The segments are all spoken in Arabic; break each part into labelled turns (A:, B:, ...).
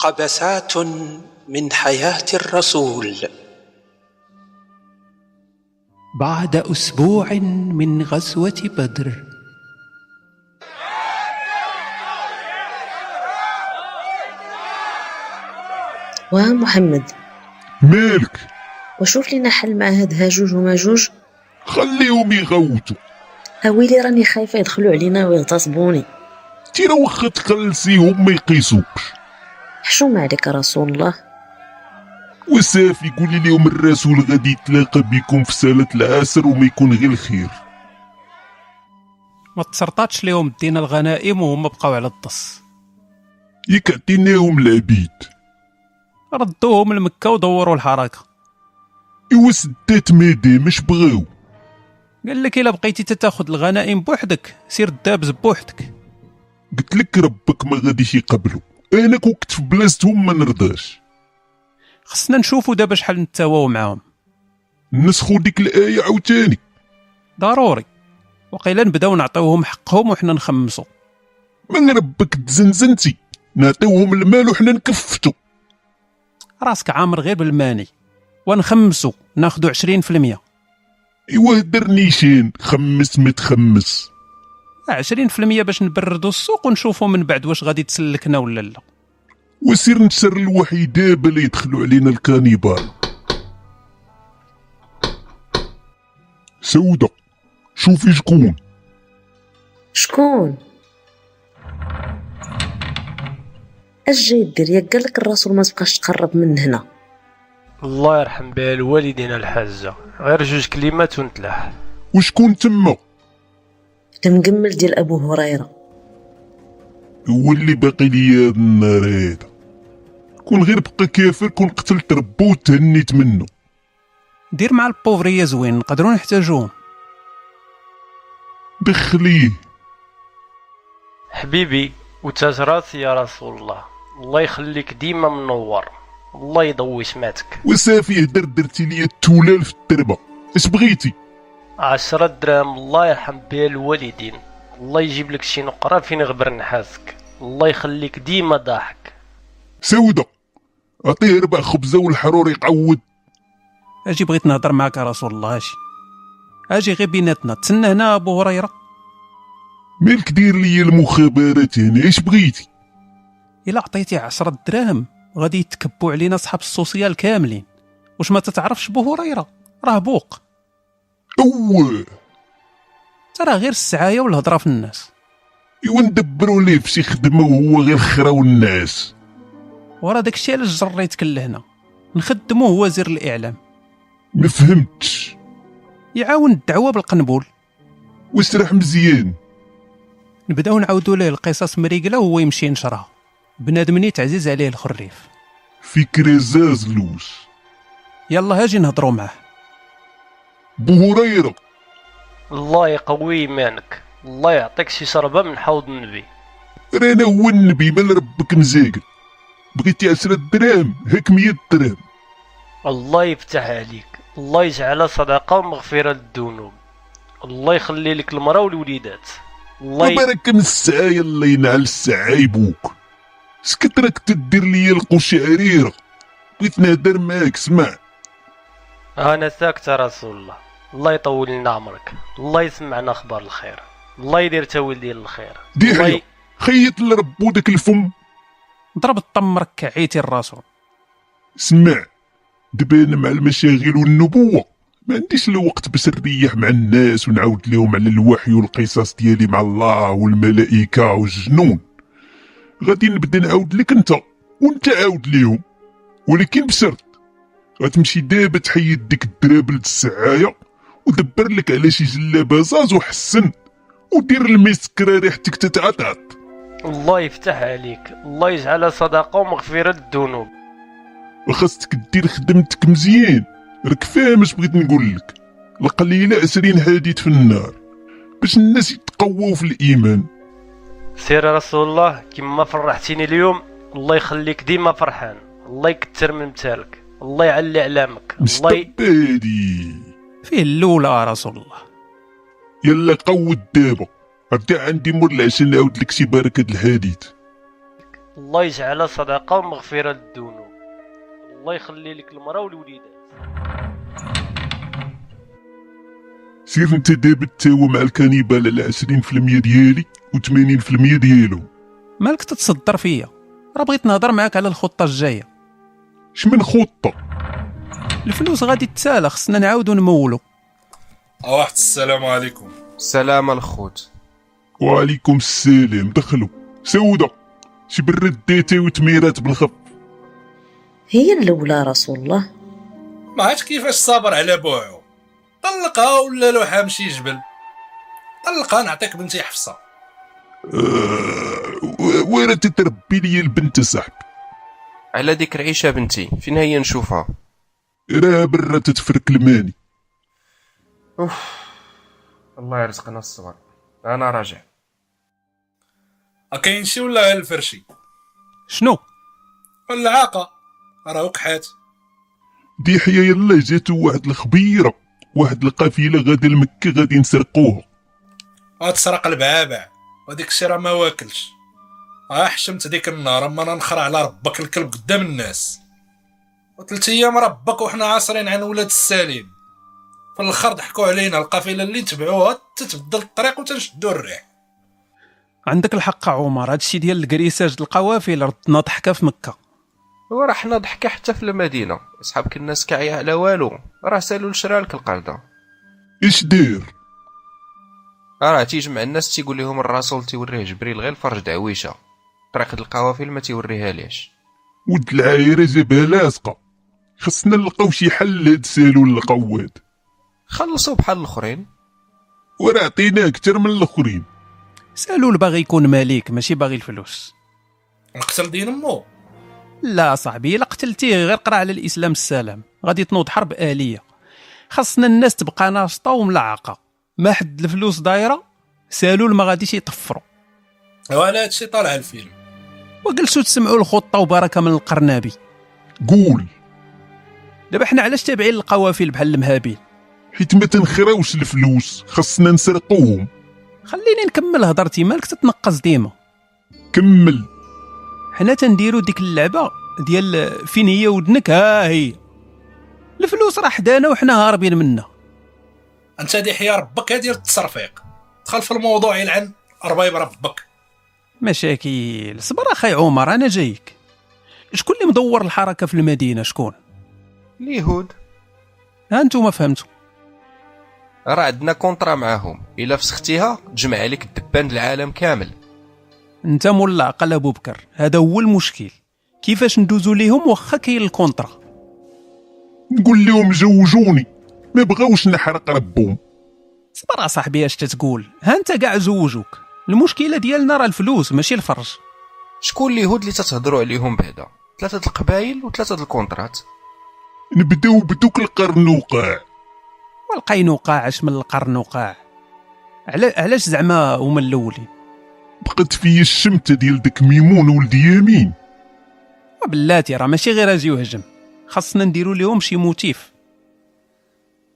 A: قبسات من حياه الرسول بعد اسبوع من غزوه بدر
B: ومحمد
C: مالك
B: وشوف لنا حل مع هاد هاجوج وماجوج
C: خليهم يغوتوا
B: اويلي راني خايفه يدخلوا علينا ويغتصبوني
C: تيرا واخا تخلصيهم ما يقيسوكش
B: حشوم عليك يا رسول الله
C: وصافي قولي لهم الرسول غادي يتلاقى بكم في سالة العصر وما يكون غير الخير
D: ما تسرطاتش ليهم دينا الغنائم وهم بقاو على الطس
C: ياك عطيناهم العبيد
D: ردوهم لمكة ودوروا الحركة
C: إوا سدات مادام مش بغاو
D: قال لك إلا بقيتي تتاخد الغنائم بوحدك سير الدابز بوحدك
C: قلت لك ربك ما غاديش يقبلو انا كون كنت في بلاصتهم ما نرضاش
D: خصنا نشوفوا دابا شحال نتواو معاهم
C: نسخو ديك الايه عاوتاني
D: ضروري وقيلا نبداو نعطيوهم حقهم وحنا نخمسو
C: من ربك تزنزنتي نعطيوهم المال وحنا نكفتو
D: راسك عامر غير بالماني ونخمسو ناخدو 20%
C: ايوا هدر نيشان خمس ما تخمس
D: 20% باش نبردو السوق ونشوفو من بعد واش غادي تسلكنا ولا لا
C: وسير نسر الوحي دابا اللي يدخلوا علينا الكانيبال سودة شوفي شكون
B: شكون اش جاي دير ياك قال لك الرسول ما تبقاش تقرب من هنا
E: الله يرحم بها الوالدين الحاجة غير جوج كلمات ونتلاح
C: وشكون تما
B: المكمل ديال ابو هريره
C: هو اللي باقي ليا هاد النهار هذا كون غير بقى كافر كون قتلت ربو وتهنيت منه
D: دير مع البوفرية زوين نقدروا نحتاجوهم
C: دخليه
E: حبيبي وتجرات يا رسول الله الله يخليك ديما منور الله يضوي سمعتك
C: وصافي هدر درتي ليا التولال في التربه اش بغيتي
E: عشرة دراهم الله يرحم بها الوالدين الله يجيب لك شي نقرة فين غبر نحاسك الله يخليك ديما ضاحك
C: سودة عطيه ربع خبزة والحرور يقعود
D: اجي بغيت نهضر معاك يا رسول الله اجي اجي غير بيناتنا تسنى هنا ابو هريره
C: مالك دير ليا المخابرات هنا اش بغيتي
D: الا عطيتي عشرة دراهم غادي يتكبوا علينا صحاب السوسيال كاملين واش ما تتعرفش بو هريره راه بوق
C: اوه
D: ترى غير السعايه والهضره في الناس
C: ايوا ندبرو ليه في شي خدمة وهو غير خراو الناس
D: ورا داكشي علاش جريتك لهنا نخدموه هو زر الاعلام
C: ما فهمتش
D: يعاون الدعوه بالقنبول
C: واسرح مزيان
D: نبداو نعاودوا ليه القصص مريقله وهو يمشي ينشرها بنادم نيت عزيز عليه الخريف
C: فكرة زازلوس
D: يلا هاجي نهضروا معاه
C: بو هريرة
E: الله يقوي ايمانك الله يعطيك شي شربة من حوض النبي
C: رانا هو النبي مال ربك مزاقل بغيتي عشرة دراهم هاك مية دراهم
E: الله يفتح عليك الله يجعلها صدقة ومغفرة للذنوب الله يخلي لك المرأة والوليدات الله ي...
C: وبارك من السعاية الله ينعل السعاي بوك سكت راك تدير ليا القوش عريرة بغيت نهدر معاك سمع
E: أنا ساكت يا رسول الله الله يطول لنا عمرك الله يسمعنا أخبار الخير الله يدير تاويل ديال الخير
C: دي
E: الله
C: حيا
E: ي...
C: خيط لربو داك الفم
D: ضرب الطم ركع عيتي الرسول
C: سمع دابا انا مع المشاغل والنبوة ما عنديش الوقت باش نريح مع الناس ونعاود لهم على الوحي والقصص ديالي مع الله والملائكة والجنون غادي نبدا نعاود لك انت وانت عاود ليهم ولكن بشرط غتمشي دابا تحيد ديك الدرابل السعاية ودبر لك على شي جلابة زاز وحسن ودير المسكرة ريحتك تتعطعط
E: الله يفتح عليك الله يجعلها صدقة ومغفرة للذنوب
C: وخاصك دير خدمتك مزيان راك فاهم اش بغيت نقول لك القليلة أسرين حديث في النار باش الناس يتقواو في الإيمان
E: سير يا رسول الله كما فرحتيني اليوم الله يخليك ديما فرحان الله يكثر من مثالك الله يعلي اعلامك الله ي...
C: مستقبالي
D: فيه الاولى يا رسول الله
C: يلا قود دابا رجع عندي مور العشاء نعاود لك شي بركة الحديث
E: الله يجعلها صدقه ومغفره للذنوب الله يخلي لك المراه والوليدات
C: سير انت دابا تساوى مع الكانيبال على 20% ديالي و80% ديالو
D: مالك تتصدر فيا راه بغيت نهضر معاك على الخطه الجايه
C: شمن خطه
D: الفلوس غادي تسالى خصنا نعاودو نمولو
F: واحد السلام عليكم
G: سلام الخوت
C: وعليكم السلام دخلوا سودة شي برد ديتي وتميرات بالخف
B: هي الاولى رسول الله
F: ما عادش كيفاش صابر على بوعو طلقها ولا لوحها مشي جبل طلقها نعطيك بنتي حفصه
C: آه، و- وين تتربي لي البنت صاحبي
G: على ذكر عيشة بنتي فين هي نشوفها
C: راه برا تتفرك الماني
G: الله يرزقنا الصبر انا راجع
F: ا كاين شي ولا غير الفرشي
D: شنو
F: والعاقه راه وقحات
C: دي حيا يلا جاتو واحد الخبيرة واحد القافلة غادا لمكة غادي نسرقوها
F: وتسرق البعابع وديك الشي راه ما واكلش اه حشمت ديك النهار اما انا نخرع على ربك الكلب قدام الناس وثلاث ايام ربك وحنا عاصرين عن ولاد السالم في الاخر ضحكوا علينا القافله اللي نتبعوها تتبدل الطريق وتنشدو الريح
D: عندك الحق عمر هادشي ديال الكريساج د القوافل ردنا ضحكه في مكه
G: هو راه حنا ضحكه حتى في المدينه اصحابك الناس كاعيه على والو راه سالوا لشرالك القرده
C: اش داير
G: راه تيجمع الناس تيقول لهم الرسول تيوريه جبريل غير فرج دعويشه طريق القوافل ما تيوريها ليش
C: ود العايرة جابها لاصقة خصنا نلقاو شي حل لهاد سالو القواد
G: خلصوا بحال الاخرين
C: وراه عطيناه كتر من الاخرين
D: سالو الباغي يكون مليك ماشي باغي الفلوس
F: نقتل دين امو
D: لا صاحبي الا قتلتيه غير قرا على الاسلام السلام غادي تنوض حرب اليه خاصنا الناس تبقى ناشطه وملعقه ما حد الفلوس دايره سالول ما غاديش يطفروا
F: وعلى هادشي طالع الفيلم
D: وجلسوا تسمعوا الخطه وبركه من القرنابي
C: قول
D: دابا حنا علاش تابعين القوافل بحال المهابيل
C: حيت ما تنخراوش الفلوس خصنا نسرقوهم
D: خليني نكمل هضرتي مالك تتنقص ديما
C: كمل
D: حنا تنديرو ديك اللعبه ديال فين هي ودنك ها هي الفلوس راه حدانا وحنا هاربين منها
F: انت دي حيا ربك هادي ديال التصرفيق دخل في الموضوع يلعن ربايب ربك
D: مشاكل صبر اخي عمر انا جايك شكون اللي مدور الحركه في المدينه شكون
G: اليهود
D: ها انتم فهمتوا
G: راه عندنا كونطرا معاهم الا فسختيها تجمع عليك الدبان العالم كامل
D: انت مول العقل ابو بكر هذا هو المشكل كيفاش ندوزو ليهم واخا كاين الكونترا
C: نقول لهم جوجوني ما بغاوش نحرق ربهم
D: صبر اصاحبي اش تتقول ها انت كاع زوجوك المشكله ديالنا راه الفلوس ماشي الفرج
G: شكون اليهود اللي تتهضروا عليهم بعدا ثلاثه القبائل وثلاثه الكونترات
C: نبداو بدوك القرنوقع
D: والقينوقاع اش من القرنوقاع علا- علاش زعما هما الاولين
C: بقات فيا الشمتة ديال داك ميمون ولد يمين
D: بلاتي راه ماشي غير اجي وهجم خاصنا نديرو ليهم شي موتيف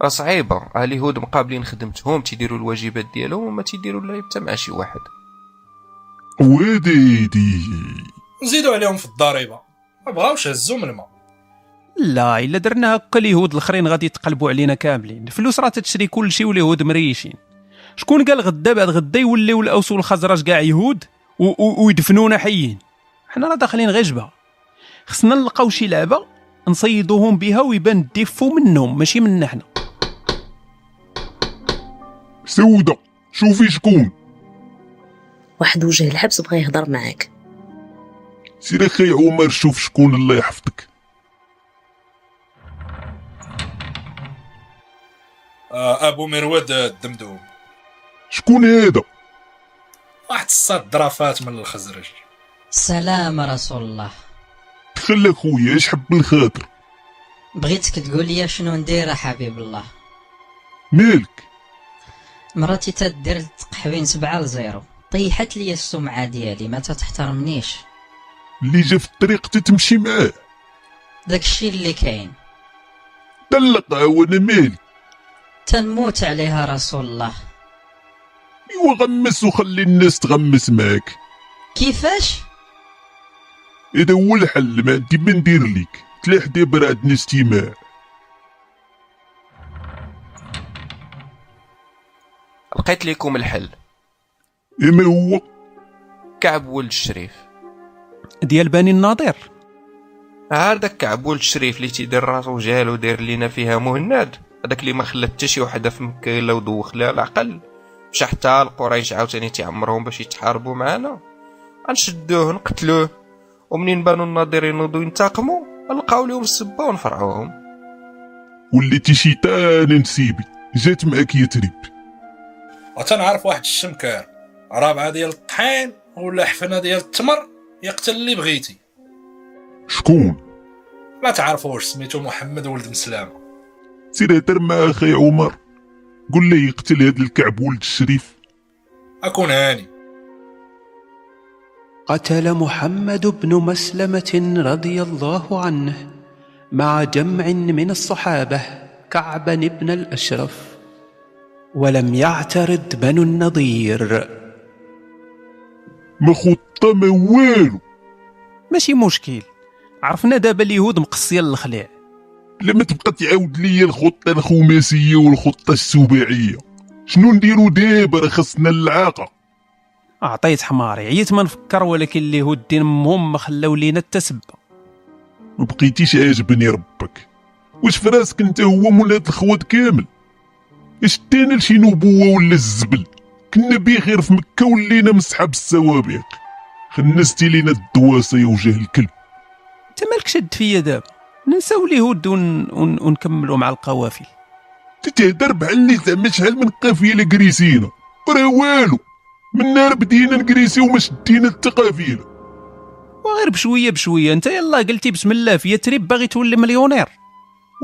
G: راه صعيبه راه اليهود مقابلين خدمتهم تيديروا الواجبات ديالهم وما تيديروا لا يبتا مع شي واحد
C: واديدي
F: نزيدو عليهم في الضريبه ما بغاوش هزو من الماء
D: لا الا درنا هكا اليهود الاخرين غادي يتقلبوا علينا كاملين الفلوس راه تتشري كل شيء واليهود مريشين شكون قال غدا بعد غدا يوليو الاوس والخزرج كاع يهود و- و- ويدفنونا حيين حنا راه داخلين غير جبهه خصنا نلقاو شي لعبه نصيدوهم بها ويبان الديفو منهم ماشي منا حنا
C: سودة شوفي شكون
B: واحد وجه الحبس بغى يهضر معاك
C: سير اخي عمر شوف شكون الله يحفظك
F: آه ابو مرود آه، الدمدوم
C: شكون هذا
F: واحد الصاد درافات من الخزرج
H: سلام رسول الله
C: تخلى خويا اش حب الخاطر
H: بغيتك تقول لي شنو ندير حبيب الله
C: مالك
H: مراتي تدير التقحبين سبعة لزيرو طيحت لي السمعة ديالي ما تحترمنيش
C: اللي جا في الطريق تتمشي معاه
H: داكشي اللي كاين
C: طلقها وانا مالي
H: تنموت عليها رسول الله
C: ايوا غمس وخلي الناس تغمس معاك
H: كيفاش
C: هذا هو الحل ما عندي ما ندير لك تلاح دابا راه عندنا اجتماع
G: لقيت لكم الحل
C: اما هو
G: كعب ولد الشريف
D: ديال بني النظير
G: هذاك كعب ولد الشريف اللي تيدير راسو جهل وداير لينا فيها مهند هذاك اللي ما خلى حتى شي وحده في مكه الا ودوخ لها العقل مشى حتى القريش عاوتاني تيعمرهم باش يتحاربوا معانا غنشدوه نقتلوه ومنين بانوا الناظرين ينوضوا ينتقموا نلقاو لهم السبه ونفرعوهم
C: وليتي شيطان نسيبي جات معاك يترب
F: وتنعرف واحد الشمكار رابعه ديال الطحين ولا حفنه ديال التمر يقتل اللي بغيتي
C: شكون
F: ما تعرفوش سميتو محمد ولد مسلامه
C: سير هدر مع اخي عمر قول له يقتل هذا الكعب ولد الشريف
F: اكون هاني
A: قتل محمد بن مسلمة رضي الله عنه مع جمع من الصحابة كعبا بن الأشرف ولم يعترض بنو النضير
C: ما خطه ما والو
D: ماشي مشكل عرفنا دابا اليهود مقصيه للخليع
C: لما تبقى تعاود ليا الخطه الخماسيه والخطه السباعيه شنو نديرو دابا راه خصنا العاقه
D: عطيت حماري عييت ما نفكر ولكن اليهود دين امهم ما خلاو لينا التسبه
C: ما بقيتيش عاجبني ربك واش في راسك انت هو مول هاد الخوات كامل اش تانا لشي نبوه ولا الزبل كنا بخير في مكه ولينا من صحاب السوابق خنستي لينا الدواسه يا وجه الكلب
D: انت مالك شاد فيا دابا ننساو اليهود ون... ون... ونكملوا مع القوافل
C: تتهدر بحال اللي زعما شحال من قافيه لكريسينا راه والو من نهار بدينا نكريسي وما شدينا التقافيله
D: وغير بشويه بشويه انت يلا قلتي بسم الله في يتريب باغي تولي مليونير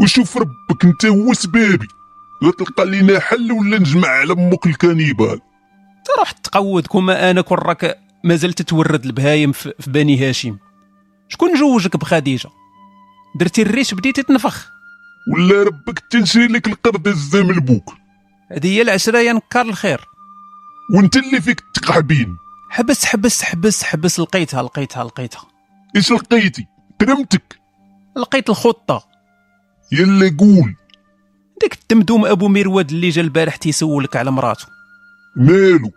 C: وشوف ربك انت هو سبابي غتلقى لينا حل ولا نجمع على امك الكانيبال
D: تروح تقود كما انا كون راك مازال تتورد البهايم في في بني هاشم شكون جوجك بخديجه درتي الريش بديتي تنفخ
C: ولا ربك تنشري لك القرد الزام البوك
D: هذه هي العشرايه نكار الخير
C: وانت اللي فيك تقحبين
D: حبس حبس حبس حبس لقيتها لقيتها لقيتها
C: اش لقيتي ترمتك
D: لقيت الخطه
C: يلا قول
D: ديك الدمدوم ابو مرواد اللي جا البارح تيسولك على مراته
C: مالو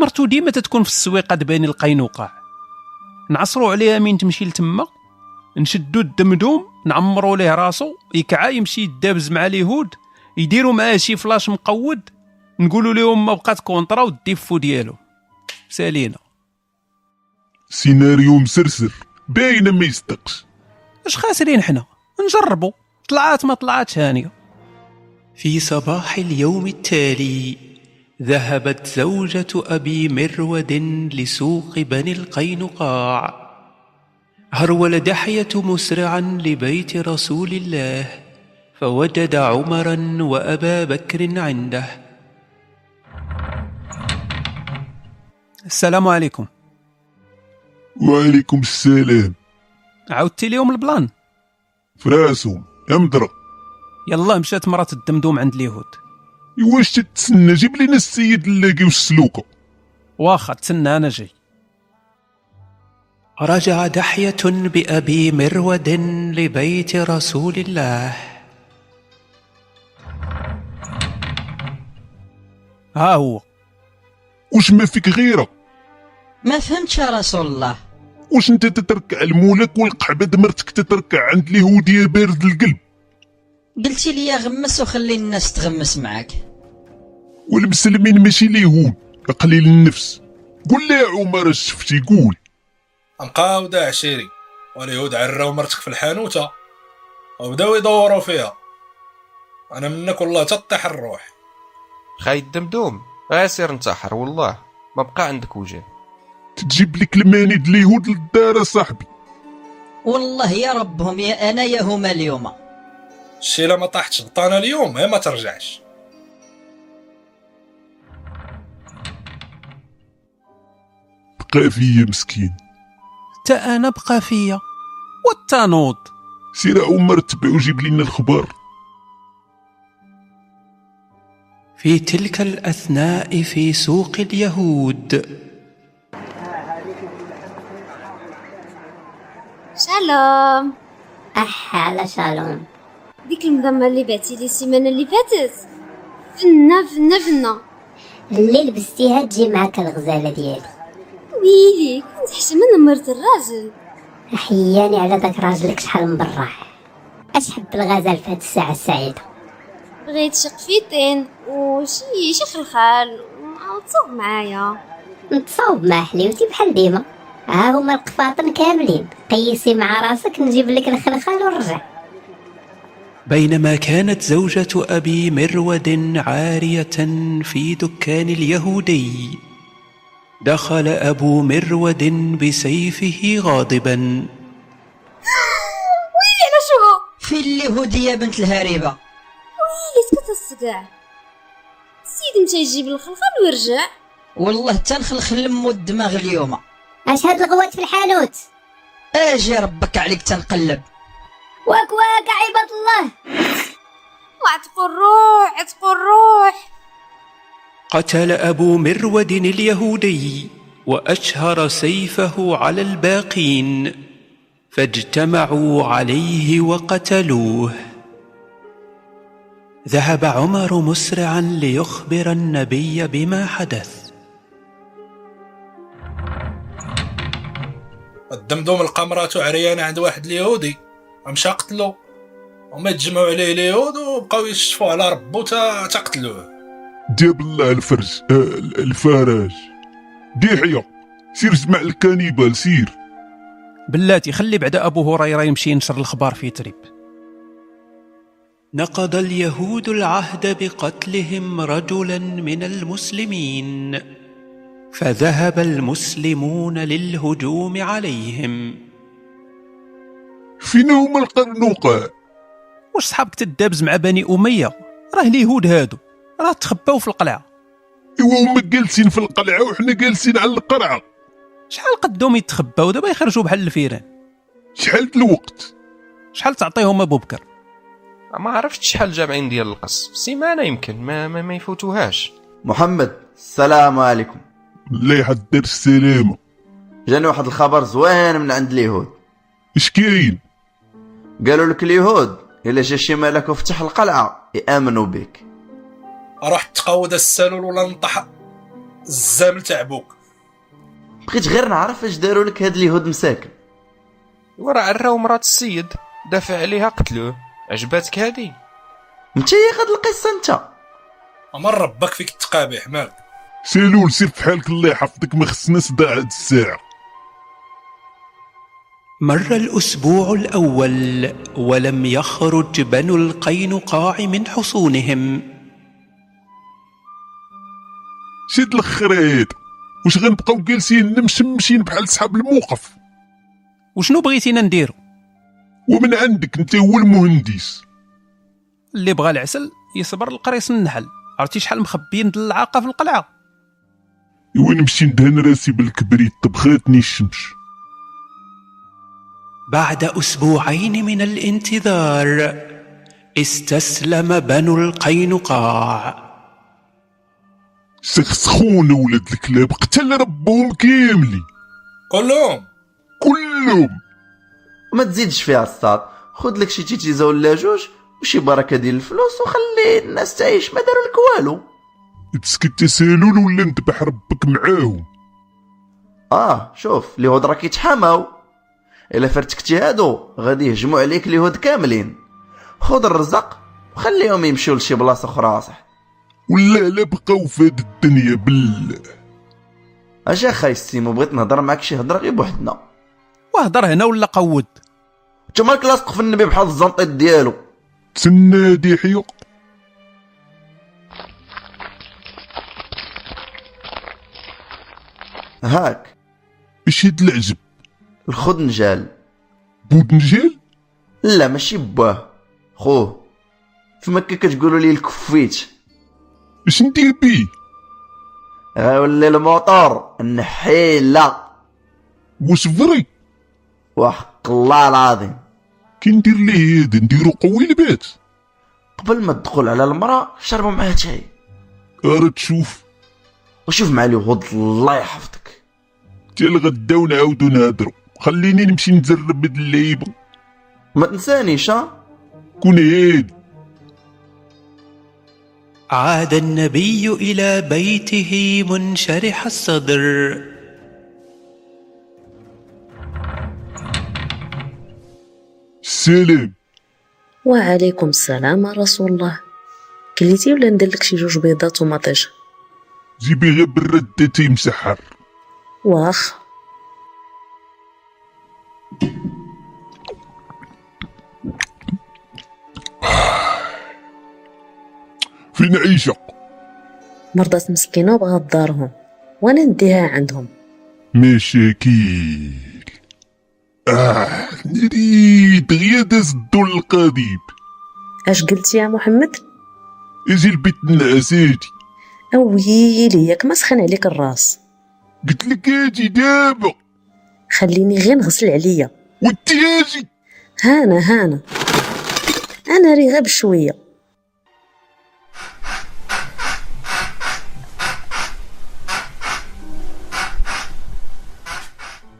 D: مرتو ديما تتكون في السويقه دباني القينوقع نعصرو عليها من تمشي لتما نشدو الدمدوم نعمرو ليه راسو يكعا يمشي يدابز مع اليهود يديروا معاه شي فلاش مقود نقولوا لهم ما بقات كونطرا والديفو ديالو سالينا
C: سيناريو مسرسر باينه ما يصدقش
D: اش خاسرين حنا نجربوا طلعات ما طلعاتش هانيه
A: في صباح اليوم التالي ذهبت زوجة أبي مرود لسوق بني القينقاع هرول دحية مسرعا لبيت رسول الله فوجد عمرا وأبا بكر عنده
D: السلام عليكم
C: وعليكم السلام
D: عاودتي ليهم البلان
C: فراسهم امدرا
D: يلا مشات مرات الدمدوم عند اليهود
C: واش تتسنى جيب لنا السيد اللاقي والسلوكه
D: واخا تسنى انا جاي
A: رجع دحية بأبي مرود لبيت رسول الله
D: ها هو
C: واش ما فيك غيره
H: ما فهمتش يا رسول الله
C: واش انت تتركع المولك والقحبه مرتك تتركع عند اليهوديه بارد القلب
H: قلتي لي غمس وخلي الناس تغمس معاك
C: والمسلمين ماشي اليهود قليل النفس قول لي يا عمر اش شفتي قول
F: مقاودة عشيري واليهود عراو مرتك في الحانوتة وبداو يدوروا فيها انا منك والله تطيح الروح
G: خاي الدمدوم غاسير انتحر والله ما بقى عندك وجه
C: تجيب لك المانيد اليهود للدار صاحبي
H: والله يا ربهم يا انا يا هما اليوم
F: شي لا ما طاحتش بطانة اليوم هي ما ترجعش
C: بقى فيا مسكين
D: تا انا بقى فيا والتنوض
C: سير عمر تبع وجيب لنا الخبر
A: في تلك الأثناء في سوق اليهود
I: سلام
J: اح على شالوم
I: ديك المدمه اللي بعتي لي السيمانه اللي فاتت فنه فنه فنه
J: اللي لبستيها تجي معاك الغزاله ديالي
I: ويلي كنت حشمن مرت الراجل
J: احياني على داك راجلك شحال من برا اش حب الغزال في هاد الساعه السعيده
I: بغيت شي قفيتين وشي شي خلخال وعاود صوب معايا
J: نتصاوب مع حليوتي بحال ديما ها هما القفاطن كاملين قيسي مع راسك نجيب لك الخلخال ونرجع
A: بينما كانت زوجة أبي مرود عارية في دكان اليهودي دخل أبو مرود بسيفه غاضبا
I: ويلي على شو
H: فين اليهودية بنت الهريبة
I: ويلي سكت الصقاع السيد مشى يجيب الخلخال ويرجع
H: والله تنخلخل الم والدماغ اليوم
J: اش هاد الغوات في الحانوت
H: اجي ربك عليك تنقلب
J: واك واك عباد الله
I: وعتقوا الروح عتقوا الروح
A: قتل أبو مرود اليهودي وأشهر سيفه على الباقين فاجتمعوا عليه وقتلوه ذهب عمر مسرعا ليخبر النبي بما حدث
F: الدمدوم القمراتو عريان عند واحد اليهودي مشى قتلو هما تجمعوا عليه اليهود وبقاو يشفوا على ربو تا تا قتلوه
C: دياب الله الفرج آه، ال- الفرج ديحية سير جمع الكانيبال سير
D: بلاتي خلي بعدا ابو هريره يمشي ينشر الخبار في تريب
A: نقض اليهود العهد بقتلهم رجلا من المسلمين فذهب المسلمون للهجوم عليهم
C: فين هما القرنوقة
D: واش صحابك تدابز مع بني اميه راه اليهود هادو راه تخباو في القلعه
C: ايوا هما جالسين في القلعة وحنا جالسين على القرعة
D: شحال قدهم يتخباو دابا يخرجوا بحال الفيران
C: شحال د الوقت
D: شحال تعطيهم ابو بكر
G: ما عرفتش شحال جامعين ديال القص سيمانه يمكن ما ما, ما يفوتوهاش
K: محمد السلام عليكم
C: الله يحضر السلامة
K: جاني واحد الخبر زوين من عند اليهود
C: اش كاين
K: قالوا لك اليهود الا جا شي ملك وفتح القلعه يامنوا بك
F: روح تقود السالول ولا نطح الزامل تاع بوك
K: بغيت غير نعرف اش داروا لك هاد اليهود مساكن
G: وراه عراو مرات السيد دافع عليها قتلوه عجباتك هادي
K: انت يا غاد القصه انت
F: امر ربك فيك التقابيح مالك
C: سالول سير في حالك الله يحفظك ما خصنا صداع هاد الساعة
A: مر الأسبوع الأول ولم يخرج بنو القينقاع من حصونهم
C: شد الخريط واش غنبقاو جالسين مشمشين بحال صحاب الموقف
D: وشنو بغيتينا نديرو
C: ومن عندك انت هو المهندس
D: اللي بغى العسل يصبر القريص النحل عرفتي شحال مخبيين د العاقه في القلعه
C: ايوا نمشي ندهن راسي بالكبريت طبخاتني الشمس
A: بعد أسبوعين من الانتظار استسلم بنو القينقاع
C: سخسخون ولاد الكلاب قتل ربهم كاملين
F: كلهم
C: كلهم
K: وما تزيدش فيها الساط خذ لك شي تيتيزا ولا جوج وشي بركه ديال الفلوس وخلي الناس تعيش ما داروا لك والو
C: تسكت تسالون ولا نذبح ربك معاهم
K: اه شوف اليهود راه كيتحماو الا فرتكتي هادو غادي يهجموا عليك اليهود كاملين خذ الرزق وخليهم يمشيو لشي بلاصه اخرى صح
C: ولا لا بقاو في هاد الدنيا بالله
K: اش اخاي السيمو بغيت نهضر معاك شي هضره غير بوحدنا
D: وهضر هنا ولا قود
K: انت مالك لاصق في النبي بحال الزنطيط ديالو
C: تسنى دحية
K: هاك
C: اش هاد العجب
K: الخدنجال
C: بودنجال
K: لا ماشي باه خوه في مكه كتقولوا لي الكفيت
C: اش ندير بيه
K: غيولي الموطور النحيله
C: واش فري
K: وحق الله العظيم
C: كي ندير ليه هاد نديرو قوي البات
K: قبل ما تدخل على المراه شربوا معها شاي
C: ارا تشوف
K: وشوف مع اليهود الله يحفظك
C: تي الغدا ونعاودو نهضرو خليني نمشي نتزرب بهاد اللعيبه
K: ما تنسانيش
C: كون هادي
A: عاد النبي إلى بيته منشرح الصدر
C: السلام
B: وعليكم السلام رسول الله كليتي ولا ندير لك شي جوج بيضات ومطيش
C: جيبي غير برده تيمسحر
B: واخ
C: فين عيشه
B: مرضات مسكينه وبغات دارهم وانا نديها عندهم
C: مشاكل اه نريد غير داز الدور القضيب
B: اش قلت يا محمد
C: اجي البيت نعساتي
B: اويلي ياك ما سخن عليك الراس
C: قلت لك اجي دابا
B: خليني غير نغسل عليا
C: وانت اجي
B: هانا هانا انا ري غير بشويه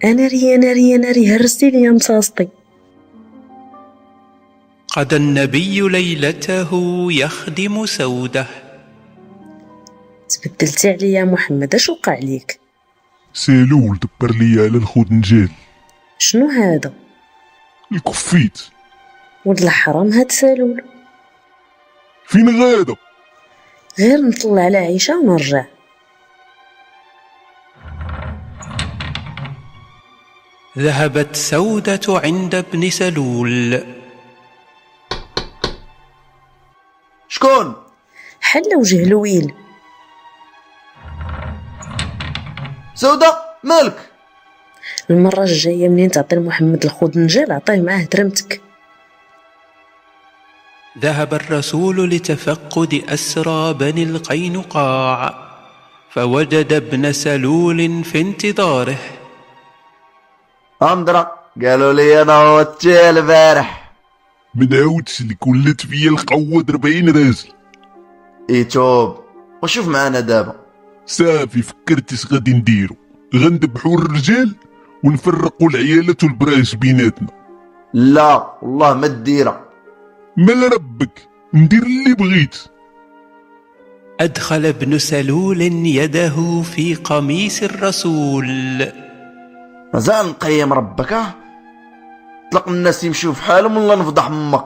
B: انا ري انا ري انا ري هرستي ليا مصاصتي
A: قضى النبي ليلته يخدم سوده
B: تبدلتي عليا محمد اش وقع ليك
C: سالول دبر لي على الخنجال
B: شنو هذا
C: الكفيت
B: ولد الحرام هاد سالول
C: فين غادا
B: غير نطلع على عيشه ونرجع
A: ذهبت سودة عند ابن سلول
K: شكون
B: حل وجه لويل
K: سودة مالك
B: المره الجايه منين تعطي لمحمد الخنجال عطيه معاه ترمتك
A: ذهب الرسول لتفقد أسرى بني القينقاع فوجد ابن سلول في انتظاره
K: امدرا قالوا لي انا هوتي البارح
C: من عاودش لك ولات فيا القوة 40 راجل
K: ايتوب إيه وشوف معانا دابا
C: صافي فكرت اش غادي نديرو غنذبحو الرجال ونفرقو العيالات والبراش بيناتنا
K: لا والله ما ديرها
C: مال ربك ندير اللي بغيت
A: أدخل ابن سلول يده في قميص الرسول
K: مازال نقيم ربك اه طلق الناس يمشيو في حالهم ولا نفضح امك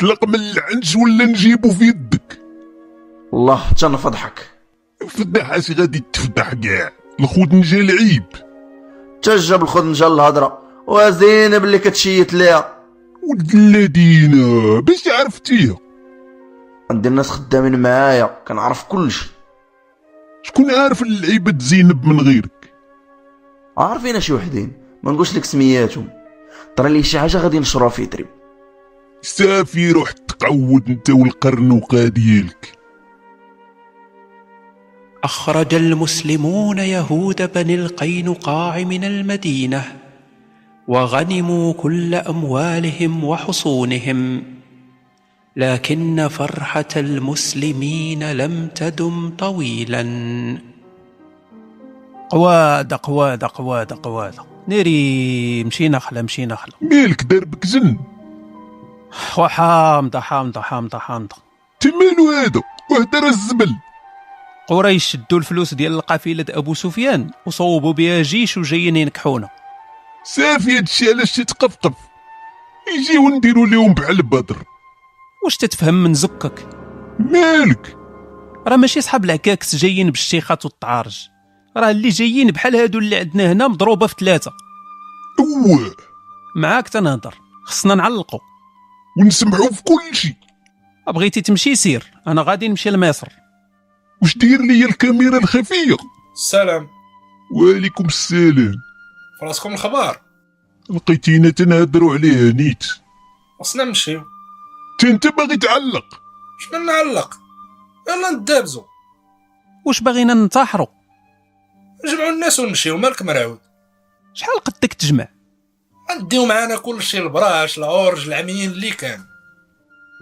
C: طلق من العنج ولا نجيبو في يدك
K: والله حتى نفضحك
C: فدح اش غادي تفدح كاع الخنجال عيب
K: حتى جاب الخنجال الهضره وزين بلي كتشيت ليها
C: ولد الذين باش عرفتيها
K: عندي الناس خدامين معايا كنعرف كلشي
C: شكون عارف اللعيبة زينب من غيرك
K: عارفين شي وحدين ما نقولش لك سمياتهم طرا لي شي حاجه غادي نشروها في دريب
C: صافي روح تقعود انت والقرنوقة ديالك
A: أخرج المسلمون يهود بني القينقاع من المدينة وغنموا كل أموالهم وحصونهم لكن فرحة المسلمين لم تدم طويلا
D: قوادة قوادة قوادة قوادة ناري مشينا خلا مشينا خلا
C: مالك دار بك زن
D: وحامضة حامضة حامضة حامضة
C: تمالو هذا وهدر الزبل
D: قريش شدوا الفلوس ديال القافلة أبو سفيان وصوبوا بها جيش وجايين ينكحونا
C: صافي هادشي علاش تتقفقف يجيو نديرو ليهم بحال البدر
D: واش تتفهم من زكك
C: مالك
D: راه ماشي صحاب العكاكس جايين بالشيخات والطعارج راه اللي جايين بحال هادو اللي عندنا هنا مضروبة في ثلاثة
C: اوه
D: معاك تنهضر خصنا نعلقو
C: ونسمعو في كلشي
D: بغيتي تمشي سير انا غادي نمشي لمصر
C: واش داير ليا الكاميرا الخفية
F: السلام
C: وعليكم السلام
F: فراسكم الخبار
C: لقيتينا تنهدرو عليه نيت
F: خصنا نمشيو
C: تا انت باغي تعلق
F: شنو نعلق يلا ندابزو
D: واش باغينا ننتحروا
F: نجمعو الناس ونمشيو مالك مرعود
D: شحال قدك تجمع
F: غنديو معانا كلشي البراش العرج العميين اللي كان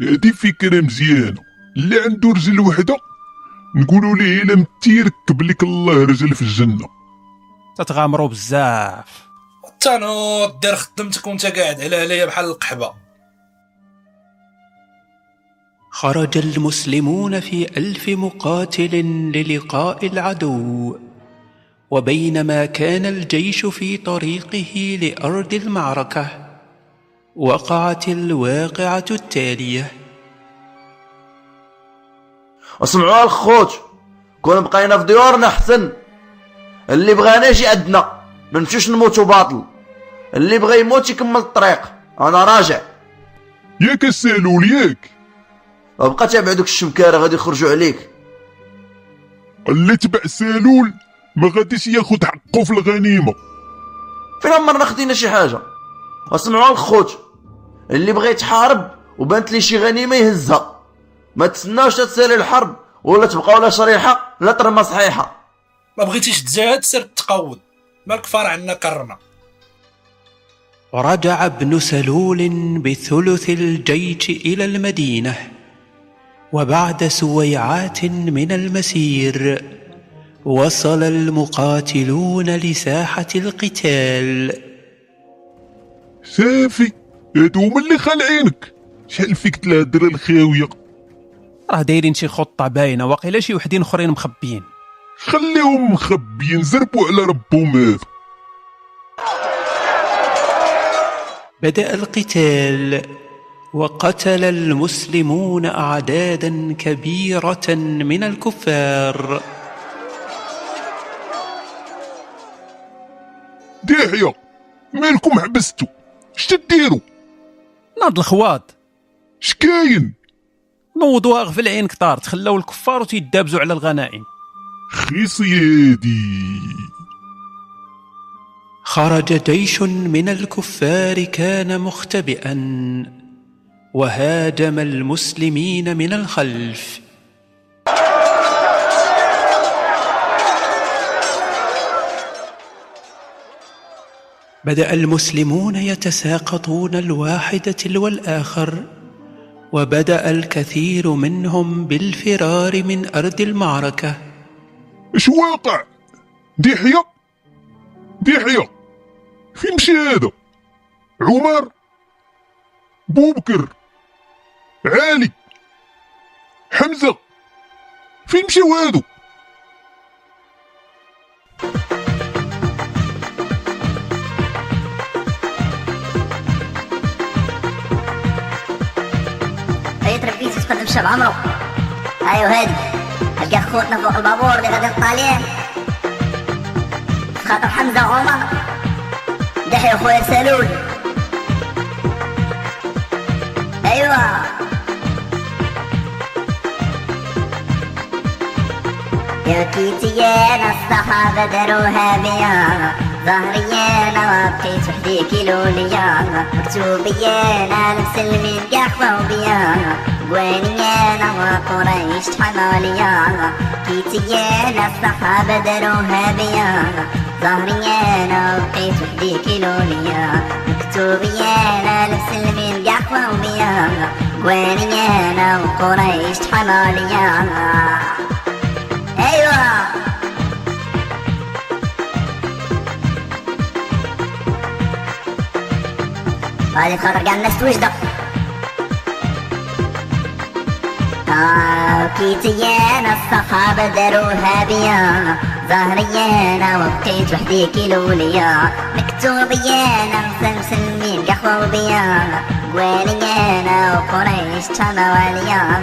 C: هادي فكرة مزيانة اللي عنده رجل وحدة نقولوا ليه الا متي يركب لك الله رجل في الجنة
D: تتغامروا بزاف
F: تنوض دير خدمتك وانت قاعد على هلايا بحال القحبه
D: خرج المسلمون في ألف مقاتل للقاء العدو وبينما كان الجيش في طريقه لأرض المعركة وقعت الواقعة التالية
K: اسمعوا الخوت كون بقينا في ديورنا حسن اللي بغانا يجي عندنا ما نمشيوش نموتوا باطل اللي بغى يموت يكمل الطريق انا راجع
C: ياك السالول ياك
K: وبقى تابع دوك الشمكاره غادي يخرجوا عليك
C: اللي تبع سالول ما غاديش ياخد حقه في الغنيمه
K: فين عمرنا خدينا شي حاجه اسمعوا الخوت اللي بغى يتحارب وبانت لي شي غنيمه يهزها ما تسناوش تسالي الحرب ولا تبقاو لا شريحه لا ترمى صحيحه
F: ما بغيتيش تزاد سير تقود مالك فرع عنا كرنا
D: رجع ابن سلول بثلث الجيش إلى المدينة وبعد سويعات من المسير وصل المقاتلون لساحة القتال
C: صافي هادو هما اللي خالعينك شحال فيك تلهدر الخاويه
L: راه دايرين شي خطه باينه واقيلا شي وحدين اخرين مخبيين
C: خليهم مخبيين زربوا على ربهم هذا
D: بدأ القتال وقتل المسلمون أعدادا كبيرة من الكفار
C: داهيه مالكم حبستو اش تديروا
L: ناض الخواط
C: شكاين
L: نوضوها غفل عين كتار تخلاو الكفار وتيدابزوا على الغنائم
C: خيصي هادي
D: خرج جيش من الكفار كان مختبئا وهاجم المسلمين من الخلف بدأ المسلمون يتساقطون الواحدة تلو الآخر وبدأ الكثير منهم بالفرار من أرض المعركة
C: اش واقع دحية دحية فين مشى هذا عمر بوبكر علي حمزة فين مشاو هادو
M: هي تربيز تقدم الشاب عمرو ايوا أيوة هادي هلقى خوتنا فوق البابور اللي غادي للطالين خاطر حمزه وعمر دحي خويا سالول ايوا يا كيتي انا الصحابه داروها بيا ظهري انا بقيت وحدي كيلوليا مكتوبي انا المسلمين كاع خضعوا بيا قواني انا وقريش تحماليا كيتي انا الصحابه داروها بيا ظهري انا بقيت وحدي كيلوليا مكتوبي انا المسلمين كاع خضعوا بيا قواني انا وقريش تحماليا ايوه هذه خاطر كاع الناس توجد كيتي انا الصحابه داروها بيا ظهري انا وبقيت وحدي كيلوليا مكتوبي انا مسلمين قحوه بيا قوالي انا وقريش تمواليا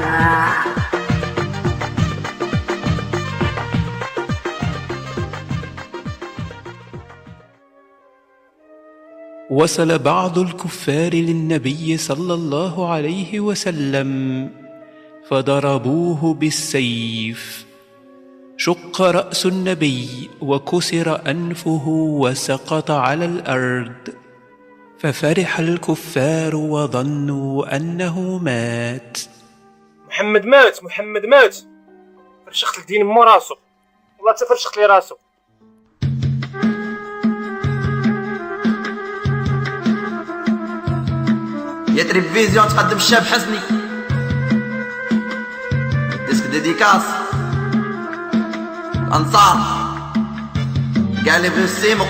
D: وصل بعض الكفار للنبي صلى الله عليه وسلم فضربوه بالسيف شق رأس النبي وكسر أنفه وسقط على الأرض ففرح الكفار وظنوا أنه مات
E: محمد مات محمد مات فرشخت لدين مو راسو والله حتى فرشخت لي راسو
K: يا تلفزيون تقدم الشاب حسني ديسك ديديكاس الانصار كاع اللي بغيو السيمو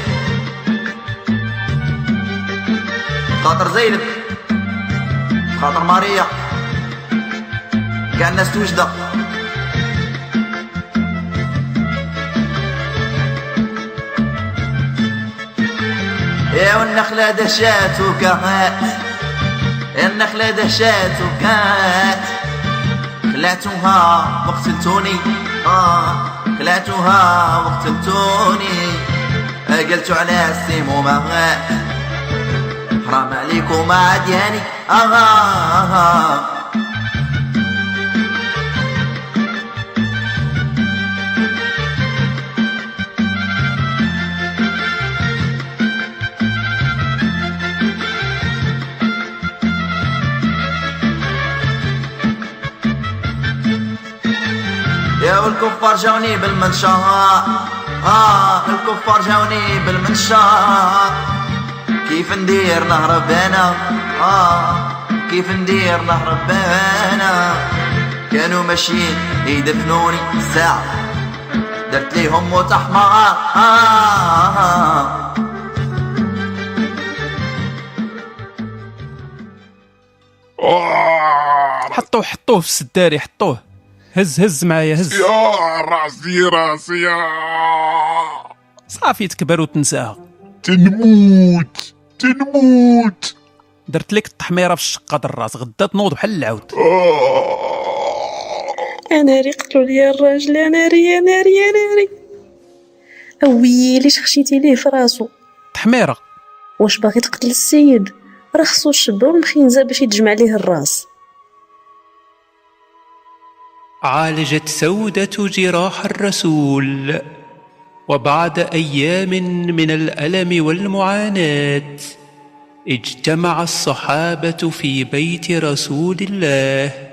N: خاطر زينب خاطر ماريا كاع الناس توجده يا والنخلة دشات وكهات يا النخلة دشات وكهات خلعتوها وقتلتوني آه خلعتوها وقتلتوني قلتو على السمومة حرام عليكم عدياني آه, آه, آه يا والكفار جاوني بالمنشا آه الكفار جاوني بالمنشا كيف ندير نهرب انا آه كيف ندير نهرب انا كانوا ماشيين يدفنوني ساعة درت ليهم موت حمار آه, آه, آه
O: حطوه حطوه في السداري حطوه هز هز معايا هز
C: يا راسي راسي يا
O: صافي تكبر وتنساها
C: تنموت تنموت
O: درت لك التحميره في الشقه د الراس غدا تنوض بحال العود
C: آه.
B: انا ري قتلوا لي الراجل انا ري انا ري انا ري ويلي شخشيتي ليه في راسو
O: تحميره
B: واش باغي تقتل السيد راه خصو الشبه والمخنزه باش يتجمع ليه الراس
D: عالجت سودة جراح الرسول وبعد أيام من الألم والمعاناة اجتمع الصحابة في بيت رسول الله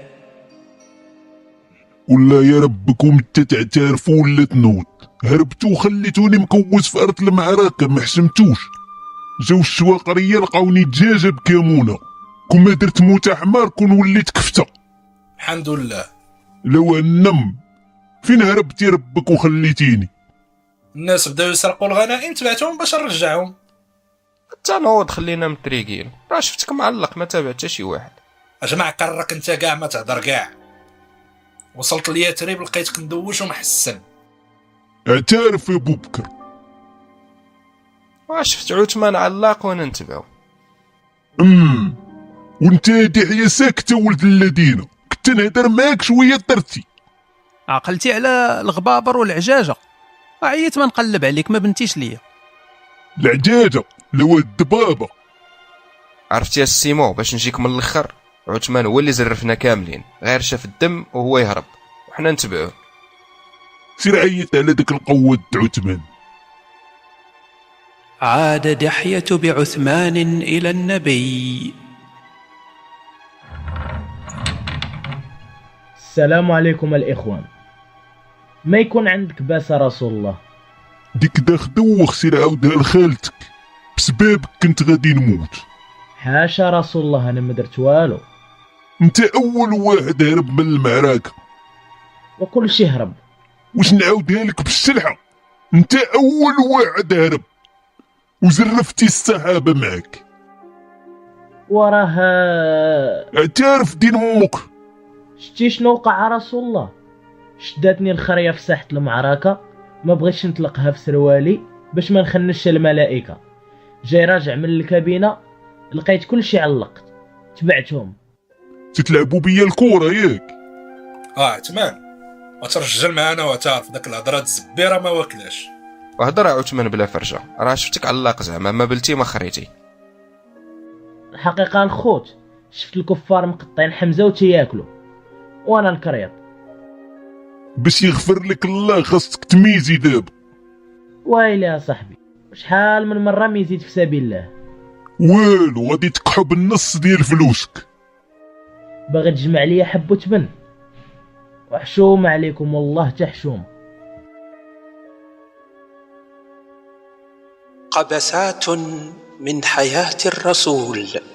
C: ولا يا ربكم حتى تعترفوا ولا تنوض هربتو وخليتوني مكوز في ارض المعركه ما حشمتوش جاو الشواقريه لقاوني دجاجه بكمونه كون ما درت موت حمار كون وليت كفته
F: الحمد لله
C: لو النم فين هربتي ربك وخليتيني
F: الناس بداو يسرقوا الغنائم تبعتهم باش نرجعهم
G: حتى نوض خلينا متريقين راه شفتك معلق ما تابع حتى شي واحد
F: اجمع قرك انت كاع ما تهضر كاع وصلت ليا تريب لقيتك مدوش ومحسن
C: اعترف يا بو بكر
G: واه شفت عثمان علاق وانا نتبعو
C: امم وانت يا دحيه ساكته ولد الذين كنت نهدر معاك شويه طرتي
O: عقلتي على الغبابر والعجاجه عييت ما نقلب عليك ما بنتيش ليا
C: العجاجه لو الدبابه
G: عرفتي يا السيمو باش نجيك من الاخر عثمان هو اللي زرفنا كاملين غير شاف الدم وهو يهرب وحنا نتبعوه
C: سير عيط على ديك القوه د عثمان
D: عاد دحية بعثمان إلى النبي
P: السلام عليكم الإخوان ما يكون عندك باس رسول الله
C: ديك داخدو وخسير عاودها لخالتك بسبابك كنت غادي نموت
P: حاشا رسول الله أنا ما درت والو
C: انت اول واحد هرب من المعركه
P: وكل شي هرب
C: واش نعاودها لك بالسلحه انت اول واحد هرب وزرفتي الصحابه معك
P: وراه
C: اعترف دين امك
P: شتي شنو وقع رسول الله شداتني الخريه في ساحه المعركه ما بغيتش نطلقها في سروالي باش ما نخنش الملائكه جاي راجع من الكابينه لقيت كل شي علقت تبعتهم
C: تتلعبوا بيا الكوره ياك
F: اه عثمان وترجل معانا واعترف داك الهضره د الزبيره ما واكلاش
G: وهضر يا عثمان بلا فرجه راه شفتك علاق زعما ما بلتي ما خريتي
P: الحقيقه الخوت شفت الكفار مقطعين حمزه وتياكلو وانا نكريط
C: باش يغفر لك الله خاصك تميزي دابا
P: ويلي يا صاحبي شحال من مره ميزيت في سبيل الله
C: والو غادي تكحب النص ديال فلوسك
P: باغي تجمع ليا حب وتبن وحشومة عليكم والله تحشوم
D: قبسات من حياة الرسول